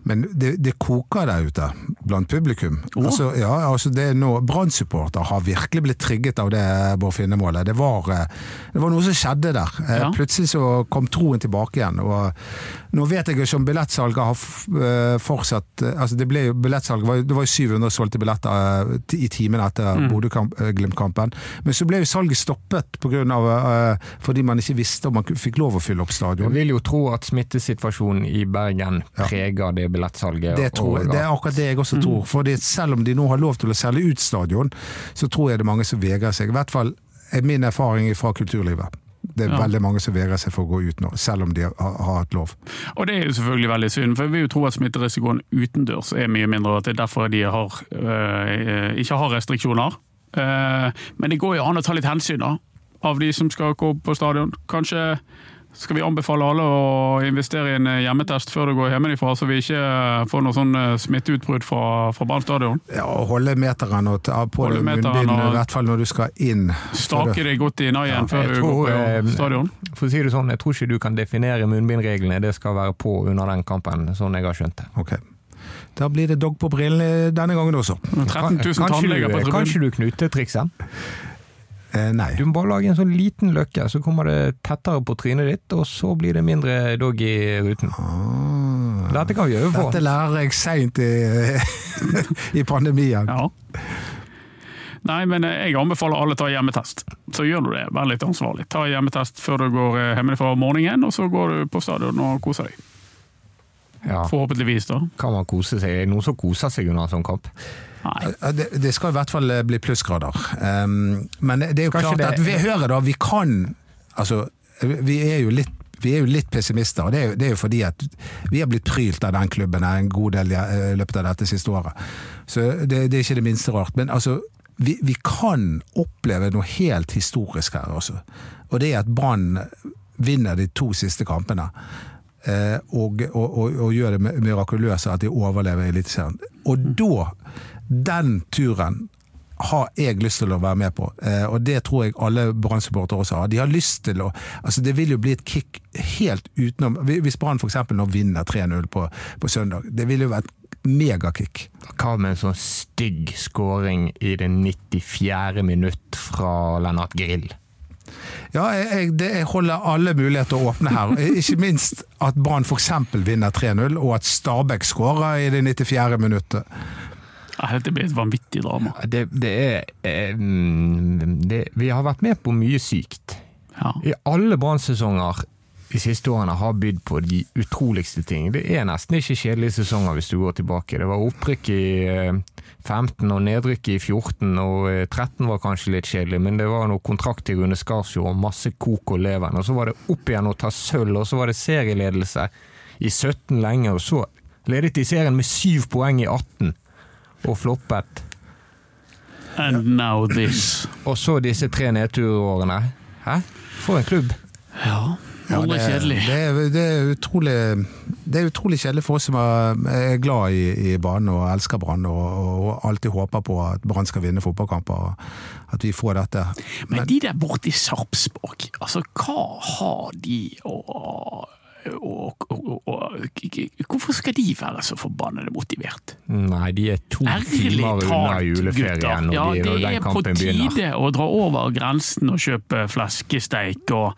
S3: Men det, det koker der ute blant publikum.
S4: Åh.
S3: Altså, ja, altså det er nå, Brann-supporter har virkelig blitt trigget av det Bård Finne-målet. Det, var, eh, det var noe som skjedde der. Eh,
S4: Ja.
S3: Plutselig så kom troen tilbake igjen. Og eh, nå vet jeg jo ikke om billettsalget har f- eh, fortsatt eh, altså det, ble jo, billettsalget var, jo- det var jo 700 solgte billetter eh, ti- i timen etter
S4: Mm.
S3: Bodø-Glimt-kampen. Men så ble jo salget stoppet på grunn av, eh, fordi man ikke visste om man ku- fikk lov å fylle opp
S2: Jeg
S3: stadion.
S2: vil jo tro at smittesituasjonen i Bergen preger det billettsalget.
S3: Det, tror,
S2: og
S3: jeg-
S2: at-
S3: det er akkurat det jeg også
S4: Mm.
S3: tror. Fordi selv om de nå har lov til å selge ut stadion, så tror jeg det er mange som vegrer seg. I hvert fall er min erfaring fra kulturlivet. Det er
S4: Ja.
S3: veldig mange som vegrer seg for å gå ut nå, selv om de har, har hatt lov.
S4: Og det er jo selvfølgelig veldig synd, for jeg vil jo tro at smitterisikoen utendørs er mye mindre, og at det er derfor de har, eh, ikke har restriksjoner. Eh, men det går jo an å ta litt hensyn da, av de som skal gå på stadion. Kanskje skal vi anbefale alle å investere i en eh, hjemmetest før du går hjemmefra, så vi ikke eh, får noe sånn eh, smitteutbrudd fra, fra Brann stadion.
S3: Ja, og holde meteren og ta på deg
S4: Holde meteren
S3: munnbind,
S4: og-
S3: i hvert fall når du skal inn.
S4: Stake deg godt i naien før
S2: jeg
S4: du går på
S2: tror, eh,
S4: stadion.
S2: For å si det sånn, jeg tror ikke du kan definere munnbindreglene. Det skal være på under den kampen, sånn jeg har skjønt det.
S3: Ok. Da blir det dog på brillene denne gangen også.
S4: 13 000 tannleger på
S2: du,
S4: tribunen.
S2: kanskje du knutetrikset?
S3: Eh, nei.
S2: Du må bare lage en sånn liten løkke, så kommer det tettere på trynet ditt, og så blir det mindre dog i ruten.
S3: Ah.
S2: Dette kan vi øve på.
S3: Dette lærer jeg seint i, i pandemien.
S4: Ja. Nei, men eh, jeg anbefaler alle å ta hjemmetest. Så gjør du det. Vær litt ansvarlig. Ta hjemmetest før du går eh, hjemmefra om morgenen, og så går du på stadion og koser deg.
S2: Ja,
S4: Forhåpentligvis, da.
S2: kan man kose seg? Er det noen som koser seg under en sånn kamp?
S4: Nei.
S3: Ja, Det, det skal i hvert fall eh, bli plussgrader. Um, men det er jo
S2: Skal ikke
S3: klart
S2: det-
S3: at vi hører da, vi kan Altså, vi er jo litt vi er jo litt pessimister, og det er jo, det er jo fordi at vi har blitt prylt av den klubben en god del i løpet av dette siste året. Så det, det er ikke det minste rart. Men altså, vi, vi kan oppleve noe helt historisk her også. Og det er at Brann vinner de to siste kampene. Eh, og, og, og, og gjør det mi- mirakuløse at de overlever Eliteserien. Og da, den turen har jeg lyst til å være med på, eh, og det tror jeg alle Brann-supportere også har. De har lyst til å altså Det vil jo bli et kick helt utenom Hvis Brann f.eks. nå vinner 3-0 på, på søndag, det vil jo være et megakick.
S2: Hva med en sånn stygg scoring i det 94. minutt fra Lennart Grill?
S3: Ja, jeg, jeg, det, jeg holder alle muligheter åpne her. Ikke minst at Brann f.eks. vinner 3-0, og at Stabæk skårer i det 94. minuttet.
S4: Nei, Dette blir et vanvittig drama.
S2: Det, det er eh, mm, det, Vi har vært med på mye sykt.
S4: Ja.
S2: I alle brannsesonger de siste årene har bydd på de utroligste ting. Det er nesten ikke kjedelige sesonger hvis du går tilbake. Det var opprykk i eh, 15 og nedrykk i 14, og eh, 13 var kanskje litt kjedelig, men det var noe kontrakt til Rune Skarsjord og masse kok og leven. Og så var det opp igjen og ta sølv, og så var det serieledelse i 17 lenge, og så ledet de serien med syv poeng i 18, og floppet.
S4: And now this.
S2: Og så disse tre nedturårene. Hæ? For en klubb!
S4: Ja.
S3: Ja,
S4: Aldri
S3: det-
S4: kjedelig.
S3: Eh, Det er, det, er utrolig, det er utrolig kjedelig for oss som er, er glad i, i Brann og elsker Brann og, og alltid håper på at Brann skal vinne fotballkamper. og At vi får dette.
S4: Men de der borte i Sarpsborg, altså hva har de å og, og, og, hvorfor skal de være så forbannede motivert?
S2: Nei, de er to
S4: Ærlig
S2: timer unna
S4: talt,
S2: juleferien
S4: gutter.
S2: når,
S4: Ja,
S2: de, når
S4: det
S2: den
S4: er på
S2: kampen begynner.
S4: tide å dra over grensen og kjøpe fleskesteik og,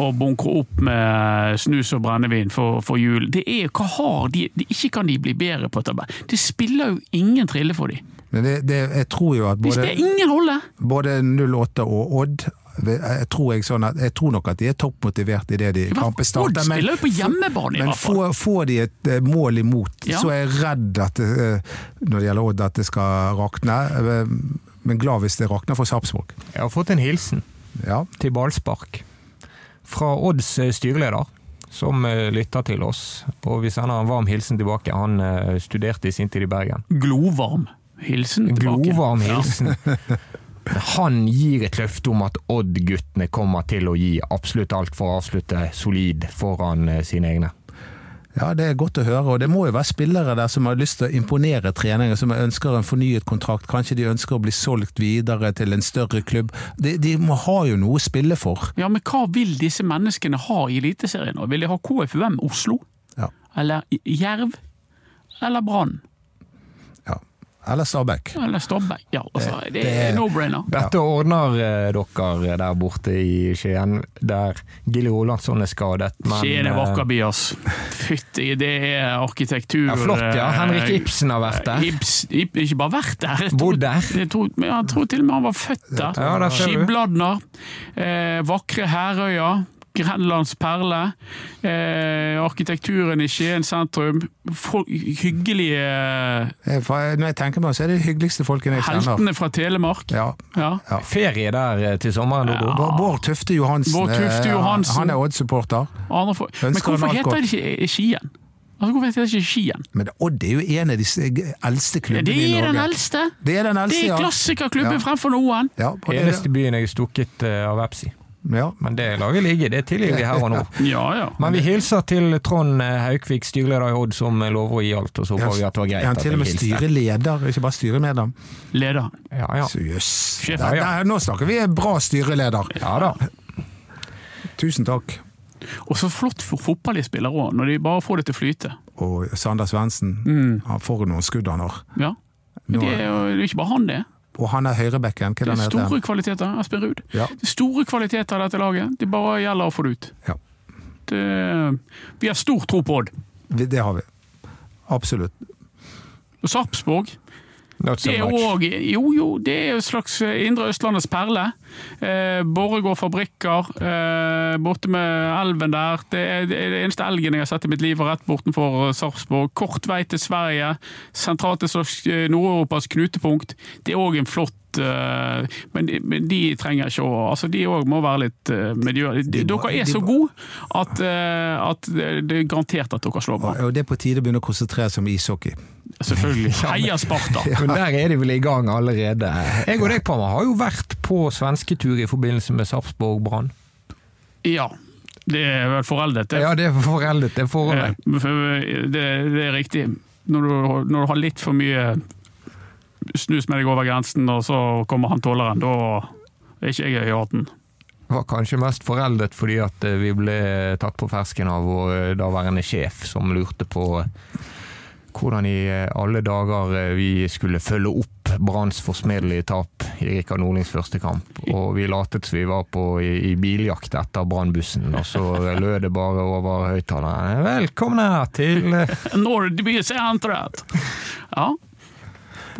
S4: og bunkre opp med snus og brennevin for, for jul. Det er, hva har de, de- Ikke kan de bli bedre på dette. Det spiller jo ingen trille for dem.
S3: Men det, det, jeg tror jo at
S4: Hvis det
S3: både,
S4: er ingen rolle!
S3: både 08 og Odd jeg tror, jeg, sånn at, jeg tror nok at de er toppmotivert i det de kampen
S4: Odd
S3: starter.
S4: spiller jo på hjemmebane, i
S3: Men
S4: hvert fall.
S3: får, får de et eh, mål imot,
S4: Ja.
S3: så er jeg redd at det, eh, når det gjelder Odd, at det skal rakne. Eh, men glad hvis det rakner for Sarpsborg.
S2: Jeg har fått en hilsen
S3: Ja.
S2: til ballspark fra Odds eh, styreleder, som eh, lytter til oss. Og vi sender en varm hilsen tilbake. Han eh, studerte i sin tid i Bergen.
S4: Glovarm hilsen tilbake.
S2: Glovarm
S4: Ja.
S2: hilsen. Han gir et løfte om at Odd-guttene kommer til å gi absolutt alt for å avslutte solid foran eh, sine egne.
S3: ja, det er godt å høre. Og det må jo være spillere der som har lyst til å imponere trenere, som ønsker en fornyet kontrakt. Kanskje de ønsker å bli solgt videre til en større klubb. De, de må ha jo noe å spille for.
S4: Ja, men hva vil disse menneskene ha i Eliteserien? nå? Vil de ha KFUM Oslo?
S3: Ja.
S4: Eller Jerv? Eller Brann?
S3: ja. Eller Stabæk.
S4: Eller Stabæk? Ja, altså, det
S3: det-
S4: er no-brainer.
S2: Dette ordner eh, dere der borte i Skien, der Gilly Rolandsson er skadet. men,
S4: Skien er
S2: eh,
S4: vakker by, ass. Fytti, det er arkitektur
S2: Ja, flott, ja. Henrik
S4: eh,
S2: Ibsen har vært der.
S4: Ibs, Ib, ikke bare vært der. jeg tror-
S2: Bodd der.
S4: Jeg tror, men jeg tror til og med han var født der.
S2: Ja, der ser du.
S4: Skibladner, eh, vakre Herøya, Grenlands perle, eh, arkitekturen i Skien sentrum. Folk, hyggelige
S3: Eh, for Når jeg tenker meg om, så er det de hyggeligste folkene jeg kjenner.
S4: heltene fra Telemark.
S3: Ja.
S4: Ja.
S2: Ferie der eh, til sommeren. Dodo.
S4: Ja.
S3: Bård Tufte Johansen.
S4: Bård Tufte
S3: eh,
S4: Johansen.
S3: Han er Odd-supporter.
S4: Andre for, men
S3: Ønsker
S4: hvorfor
S3: han alt
S4: heter
S3: godt.
S4: det ikke eh, Skien? Altså, hvorfor heter det ikke Skien?
S3: Men Odd er jo en av de s- eldste
S4: Ja,
S3: klubbene
S4: Det
S3: i
S4: er den
S3: Norge.
S4: eldste!
S3: Det er den
S4: Det
S3: eldste,
S4: er
S3: ja. Ja.
S4: klassikerklubben fremfor noen.
S3: ja. og det er
S2: Eneste byen jeg er stukket eh, av Vepsi.
S3: det. ja.
S2: Men det laget ligger, det tilgir vi her og nå.
S4: Ja, ja.
S2: Men vi hilser til Trond eh, Haukvik, styreleder i Odd, som eh, lover å gi alt, og så
S3: Ja,
S2: håper vi at det var
S3: Er han
S2: greit.
S3: til og med
S2: at jeg hilste.
S3: styreleder, ikke bare styremedlem?
S4: Leder.
S2: Ja, ja.
S3: Så jøss.
S4: Sjef,
S3: Der-
S2: ja.
S3: der- Nå snakker vi en bra styreleder.
S2: ja da.
S3: Tusen takk.
S4: Og så flott for fotballspillere òg, når de bare får det til å flyte.
S3: Og Sander Svendsen.
S4: Mm.
S3: Han får noen skudd han har.
S4: Ja. Men det er jo det er ikke bare han, det.
S3: Og han er høyrebekken. Hva
S4: Det
S3: den
S4: er
S3: heter
S4: store
S3: han?
S4: kvaliteter. Espen Ruud.
S3: Ja.
S4: Det er store kvaliteter i dette laget. Det bare gjelder å få det ut.
S3: Ja.
S4: Det, vi har stor tro på Odd.
S3: Vi- Det har vi. Absolutt.
S4: Og Sarpsborg
S2: Not so
S4: det er
S2: much.
S4: òg Jo, jo, det er jo et slags eh, Indre Østlandets perle. Eh, Borregaard fabrikker eh, borte med elven der. Det er, det er den eneste elgen jeg har sett i mitt liv, var rett bortenfor eh, Sarpsborg. Kort vei til Sverige. Sentralt et slags eh, Nord-Europas knutepunkt. Det er òg en flott eh, men, de- men de trenger ikke å altså De òg må være litt eh, miljø...
S3: De må-
S4: Dere er
S3: de
S4: så
S3: må-
S4: gode at, eh, at det det er garantert at dere slår
S3: Og
S4: bra.
S3: og det er på tide å begynne å konsentrere seg om ishockey.
S4: Selvfølgelig. Heia Sparta!
S2: Men der er de vel i gang allerede. Jeg og deg, Pamma, har jo vært på svensketur i forbindelse med Sarpsborg-brann.
S4: Ja. Det er vel foreldet, det.
S2: Ja, det er foreldet, det forholdet.
S4: Eh, for Det, det er riktig. Når du, når du har litt for mye snus med deg over grensen, og så kommer han tåleren, da er ikke jeg i hatten.
S2: Var kanskje mest foreldet fordi at eh, vi ble tatt på fersken av vår eh, daværende sjef, som lurte på eh, hvordan i eh, alle dager eh, vi skulle følge opp Branns forsmedelige tap i Rikard Nordlings første kamp. Og vi latet som vi var på i, i biljakt etter Brannbussen, og så eh, lød det bare over høyttaleren 'Velkommen her til eh,
S4: Nordbysenteret! Ja,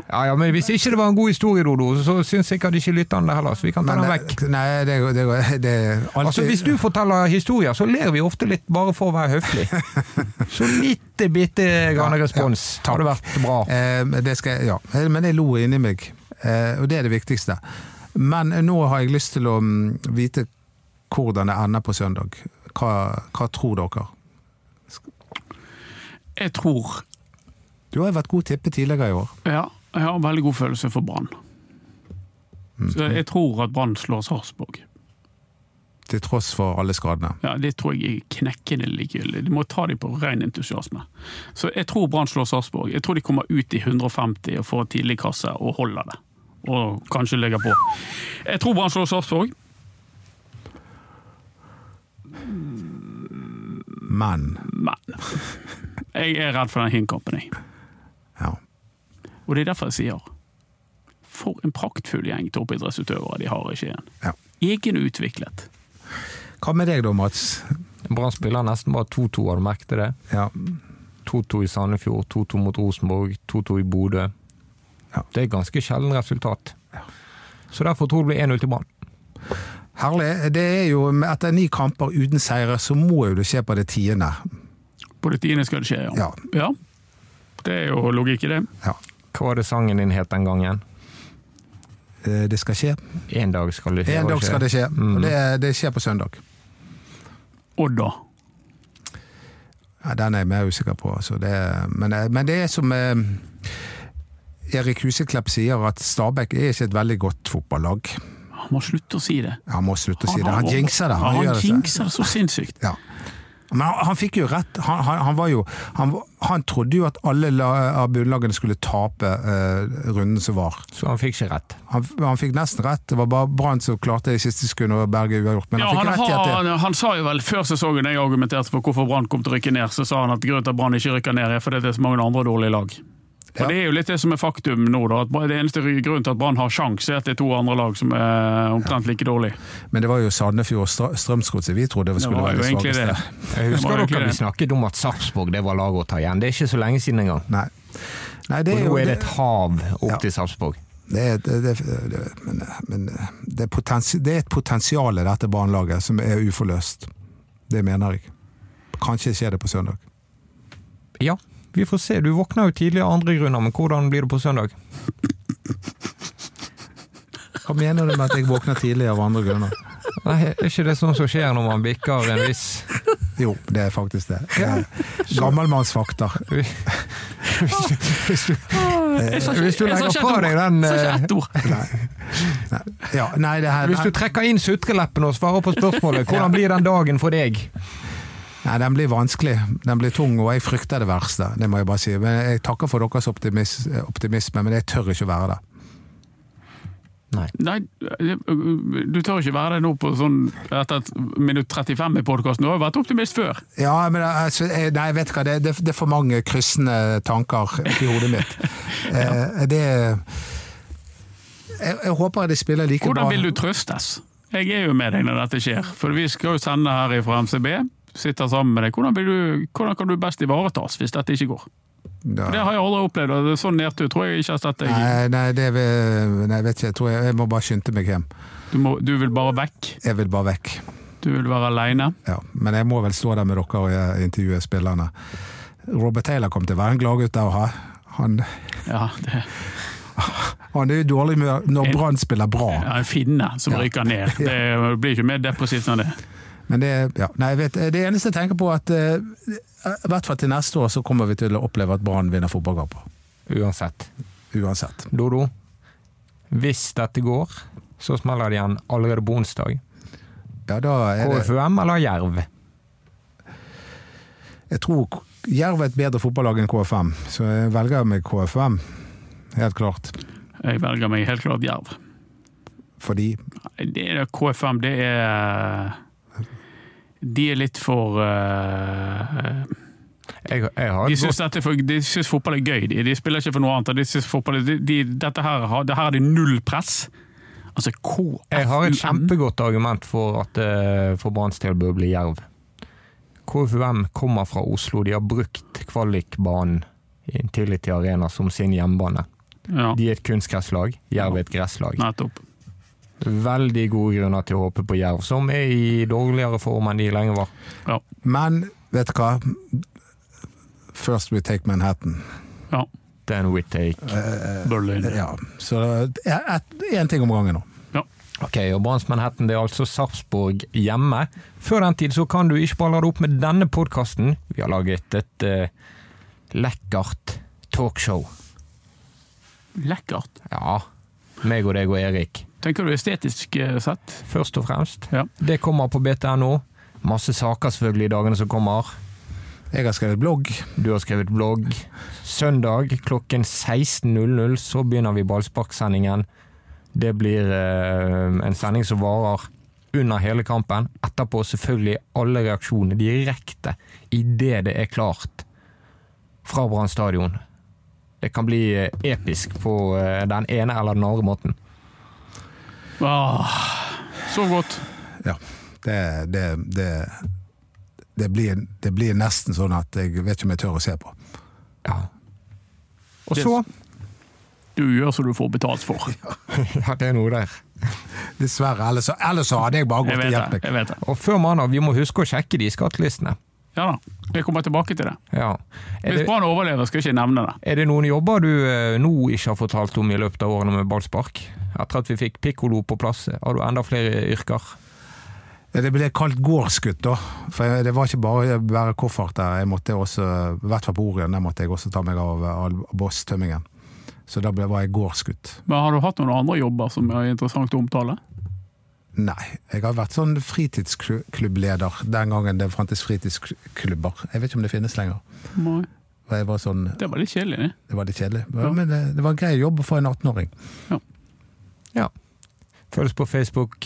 S2: Ja ja, men hvis ikke det var en god historie, Dodo, så syns sikkert ikke lytterne det heller, så vi kan ta
S3: Men,
S2: den
S3: eh,
S2: vekk.
S3: nei, det, det, det er alltid
S2: Altså, hvis du forteller historier, så ler vi ofte litt bare for å være høflig. Så lite bitte grann
S3: Ja, ja.
S2: respons. Har det vært bra?
S3: Eh, men det skal, jeg- ja, men jeg lo inni meg, eh, og det er det viktigste. Men nå har jeg lyst til å mm, vite hvordan det ender på søndag. Hva, hva tror dere?
S4: jeg tror
S3: Du har jo vært god tippe tidligere i år.
S4: Ja, jeg har en veldig god følelse for Brann. Så jeg tror at Brann slår Sarpsborg.
S3: Til tross for alle skadene.
S4: Ja, det tror jeg er knekkende likegyldig. Du må ta dem på ren entusiasme. Så jeg tror Brann slår Sarpsborg. Jeg tror de kommer ut i 150 og får en tidlig kasse og holder det. Og kanskje legger på. Jeg tror Brann slår Sarpsborg.
S3: Men
S4: Men jeg er redd for den Hinn-kampen, jeg.
S3: ja.
S4: Og det er derfor jeg sier for en praktfull gjeng toppidrettsutøvere de har i Skien.
S3: Ja.
S4: Egenutviklet.
S3: Hva med deg da, Mats?
S2: Brann spiller nesten bare 2-2, har du merket det?
S3: Ja.
S2: 2-2 i Sandefjord, 2-2 mot Rosenborg, 2-2 i Bodø.
S3: Ja.
S2: Det er et ganske sjelden resultat. Så derfor tror jeg det blir 1-0 til Brann.
S3: Herlig. Det er jo etter ni kamper uten seire, så må jo det skje på det tiende.
S4: På det tiende skal det skje, ja.
S3: Ja.
S4: ja. Det er jo logikk i det.
S3: ja.
S2: Hva var det sangen din het den gangen?
S3: eh, det skal skje.
S2: En dag skal det skje. Mm.
S3: En dag skal det skje, og det, det skjer på søndag.
S4: Odd, da?
S3: Ja, den er jeg mer usikker på. Altså. Det, men, eh, men det er som eh, Erik Huseklepp sier, at Stabæk er ikke et veldig godt fotballag.
S4: Han må slutte å si det.
S3: Han må slutte å si det. Han jinxer det.
S4: Ja,
S3: Han gjør
S4: han
S3: det.
S4: jinxer det så sinnssykt.
S3: Ja. Men han, han fikk jo rett. Han, han, han var jo han, var- han trodde jo at alle la, av bunnlagene skulle tape eh, runden som var.
S2: Så han fikk ikke rett.
S3: Han, han fikk nesten rett. Det var bare Brann som klarte det i siste sekund å berge uavgjort, men
S4: Ja,
S3: han
S4: han,
S3: fikk rett i at det
S4: har, han sa jo vel før sesongen jeg argumenterte for hvorfor Brann kom til å rykke ned, så sa han at grunnen til at Brann ikke rykker ned er fordi det er så mange andre dårlige lag. Og
S3: Ja.
S4: Det er jo litt det som er faktum nå. da, at Det eneste grunnen til at Brann har sjanse, er at det er to andre lag som er omtrent like dårlige.
S3: Men det var jo Sandefjord og Stra- Strømsgodset vi trodde
S4: Det
S3: skulle
S4: var
S3: være
S4: jo
S3: det
S4: egentlig
S3: svakeste.
S4: det.
S2: Jeg
S4: Det var
S2: husker
S4: jo ikke
S2: dere vi
S4: det.
S2: snakket om at Sarpsborg det var laget å ta igjen. Det er ikke så lenge siden engang.
S3: Nei. Nei, det
S2: Og
S3: er
S2: nå
S3: jo
S2: er
S3: det,
S2: det et hav opp
S3: Ja.
S2: til Sarpsborg.
S3: det, er- det, det, det Men, men det, er potensi, det er et potensial i dette barnelaget som er uforløst. Det mener jeg. Kanskje skjer det på søndag.
S2: Ja, vi får se. Du våkner jo tidlig av andre grunner, men hvordan blir det på søndag?
S3: Hva mener du med at jeg våkner tidlig av andre grunner?
S2: Nei, er ikke det sånn som skjer når man bikker en viss
S3: Jo, det er faktisk det. det er Gammelmannsfakter.
S2: Hvis du
S4: Jeg sa
S2: legger
S4: ikke
S2: fra
S4: et
S2: deg
S4: ord.
S2: den
S4: Jeg sa
S2: eh,
S4: ikke ett ord!
S3: Ja, nei, det her,
S2: Hvis du
S3: nei,
S2: trekker inn sutreleppen og svarer på spørsmålet, hvordan blir den dagen for deg?
S3: den blir vanskelig. Den blir tung, og jeg frykter det verste. Det må jeg bare si. Men jeg takker for deres optimis, optimisme, men jeg tør ikke å være det.
S4: Nei, du tør ikke være det nå på sånn etter et minutt 35 i podkasten. Du har jo vært optimist før.
S3: Ja, men altså, jeg- nei, vet du hva, det, det, det er for mange kryssende tanker i hodet mitt. Eh, det jeg, jeg håper de spiller like
S4: Hvordan
S3: bra.
S4: vil du trøstes? Jeg er jo med deg når dette skjer, for vi skal jo sende her fra MCB. Sitter sammen med deg. Hvordan, vil du, hvordan kan du best ivaretas hvis dette ikke går?
S3: Ja.
S4: Det har jeg aldri opplevd, og det er sånn nedtur tror jeg ikke har sett deg. i.
S3: Nei, nei, det vil, nei, vet ikke, jeg tror jeg, jeg må bare skynde meg hjem.
S4: Du, må, du vil bare vekk.
S3: Jeg vil bare vekk.
S4: Du vil være aleine.
S3: Ja, men jeg må vel stå der med dere og eh, intervjue spillerne. Robert Taylor kom til å være en gladgutt der å ha. Han,
S4: Ja, det
S3: han er jo i dårlig humør når
S4: En-
S3: Brann spiller bra.
S4: er en finne som
S3: Ja.
S4: ryker ned. Det blir ikke mer depressivt enn det.
S3: Men det, ja, nei, jeg vet, det eneste jeg tenker på, er at eh, i hvert fall til neste år så kommer vi til å oppleve at Brann vinner fotballkamper.
S2: Uansett.
S3: Uansett.
S2: Dodo, hvis dette går, så smeller det igjen allerede på onsdag.
S3: Ja, da er det,
S2: KFUM eller Jerv?
S3: jeg tror Jerv er et bedre fotballag enn KFM, så jeg velger meg KFM. Helt klart.
S4: Jeg velger meg helt klart Jerv.
S3: Fordi
S4: Nei, Det er KFM, det er De er litt for eh,
S2: Jeg, jeg har
S4: De
S2: et
S4: syns, dette er for, de syns fotball er gøy. De, de spiller ikke for noe annet. og De syns fotball, de, de, dette her, har- det her er det null press. Altså KFUM
S2: Jeg har et kjempegodt argument for at eh, for Branns del bør bli Jerv. KFUM kommer fra Oslo. De har brukt kvalikbanen i Intility Arena som sin hjemmebane.
S4: Ja,
S2: De er et kunstgresslag, Jerv er et gresslag.
S4: nettopp.
S2: Veldig gode grunner til å håpe på Jerv, som er i dårligere form enn de lenge var.
S3: Men vet du hva? First we take Manhattan.
S4: Ja,
S2: Den we take.
S4: Berlin.
S2: Eh,
S3: Ja, så én ting om gangen nå.
S2: Ok, og Branns Manhattan det er altså Sarpsborg hjemme. Før den tid så kan du ikke bare lade opp med denne podkasten. Vi har laget et eh, lekkert talkshow.
S4: Lekkert.
S2: Ja, meg og deg og Erik.
S4: Tenker du estetisk eh, sett?
S2: Først og fremst.
S4: Ja.
S2: Det kommer på BTNO. Masse saker selvfølgelig i dagene som kommer.
S3: Jeg har skrevet blogg.
S2: Du har skrevet blogg. Søndag klokken 16.00 så begynner vi ballsparksendingen. Det blir eh, en sending som varer under hele kampen. Etterpå selvfølgelig alle reaksjonene direkte idet det er klart fra Brann stadion. Det kan bli eh, episk på eh, den ene eller den andre måten.
S4: Ah, så godt.
S3: Det, det, det, det, blir, det blir nesten sånn at jeg vet ikke om jeg tør å se på.
S2: Ja. Og
S4: Det-
S2: så
S4: Du gjør som du får betalt for.
S2: Ja, det er noe der.
S3: Dessverre. Ellers, så- ellers så hadde jeg bare gått
S4: Jeg
S3: og
S4: vet
S3: hjulpet
S4: det.
S3: deg.
S4: jeg vet det.
S2: Og før mandag, vi må huske å sjekke de skattelistene.
S4: Ja da, jeg kommer tilbake til det.
S2: Ja. Er,
S4: Hvis
S2: det,
S4: Brann overlever, skal jeg ikke nevne det.
S2: er det noen jobber du eh, nå ikke har fortalt om i løpet av årene med ballspark? Etter at vi fikk pikkolo på plass, har du enda flere yrker?
S3: Det ble kalt gårdsgutt, da. For det var ikke bare å bære koffert der. Jeg måtte også, I hvert fall på Orion, der måtte jeg også ta meg av all bosstømmingen. Så da ble, var jeg gårdsgutt.
S4: Men har du hatt noen andre jobber som er interessant å omtale?
S3: Nei, jeg har vært sånn fritidsklubbleder den gangen det fantes fritidsklubber. Jeg vet ikke om det finnes lenger.
S4: Nei.
S3: Og Jeg var sånn,
S4: Det var litt kjedelig. det.
S3: det var litt kjedelig,
S4: Ja.
S3: men eh, det, det var en grei jobb for en 18-åring.
S2: Følg oss på Facebook.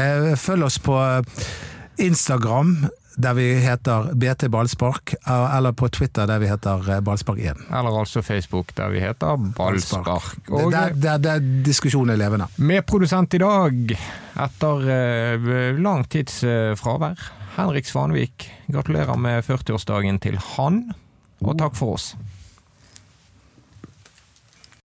S3: Eh, Følg oss på Instagram, der vi heter BT Ballspark, eh, eller på Twitter, der vi heter eh, Ballspark1.
S2: Eller altså Facebook, der vi heter Ballspark.
S3: Det er
S2: Og
S3: der, der, der diskusjonen er levende.
S2: med produsent i dag, etter eh, lang tids eh, fravær, Henrik Svanvik. Gratulerer med 40-årsdagen til han, og takk for oss.